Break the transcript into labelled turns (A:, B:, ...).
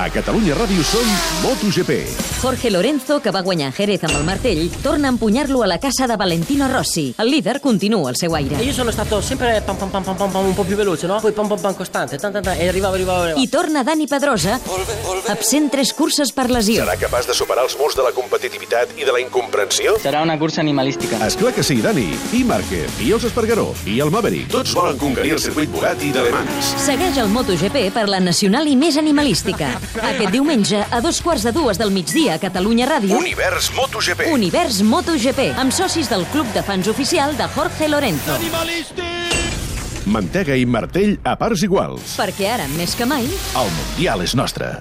A: A Catalunya Ràdio som MotoGP.
B: Jorge Lorenzo, que va guanyar Jerez amb el martell, torna a empunyar-lo a la casa de Valentino Rossi. Il leader continua il seu aire.
C: E io sono stato sempre pam pam pam pam pam pam un po' più veloce, no? Poi pam pam pam costante, tan, tan, tan, e arrivavo, arrivavo, arrivavo.
B: I torna Dani Pedrosa, absent tres curses per lesió.
A: Serà capaç de superar els murs de la competitivitat i de la incomprensió?
D: Serà una cursa animalística.
A: És clar que sí, Dani. I Márquez, i els Espargaró, i el Maverick. Tots volen conquerir el circuit Bugatti d'Alemans.
B: Segueix el MotoGP per la nacional i més animalística. Aquest diumenge, a dos quarts de dues del migdia, a Catalunya Ràdio,
A: Univers MotoGP.
B: Univers MotoGP, amb socis del Club de Fans Oficial de Jorge Lorenzo.
A: Mantega i martell a parts iguals.
B: Perquè ara, més que mai,
A: El Mundial és nostre.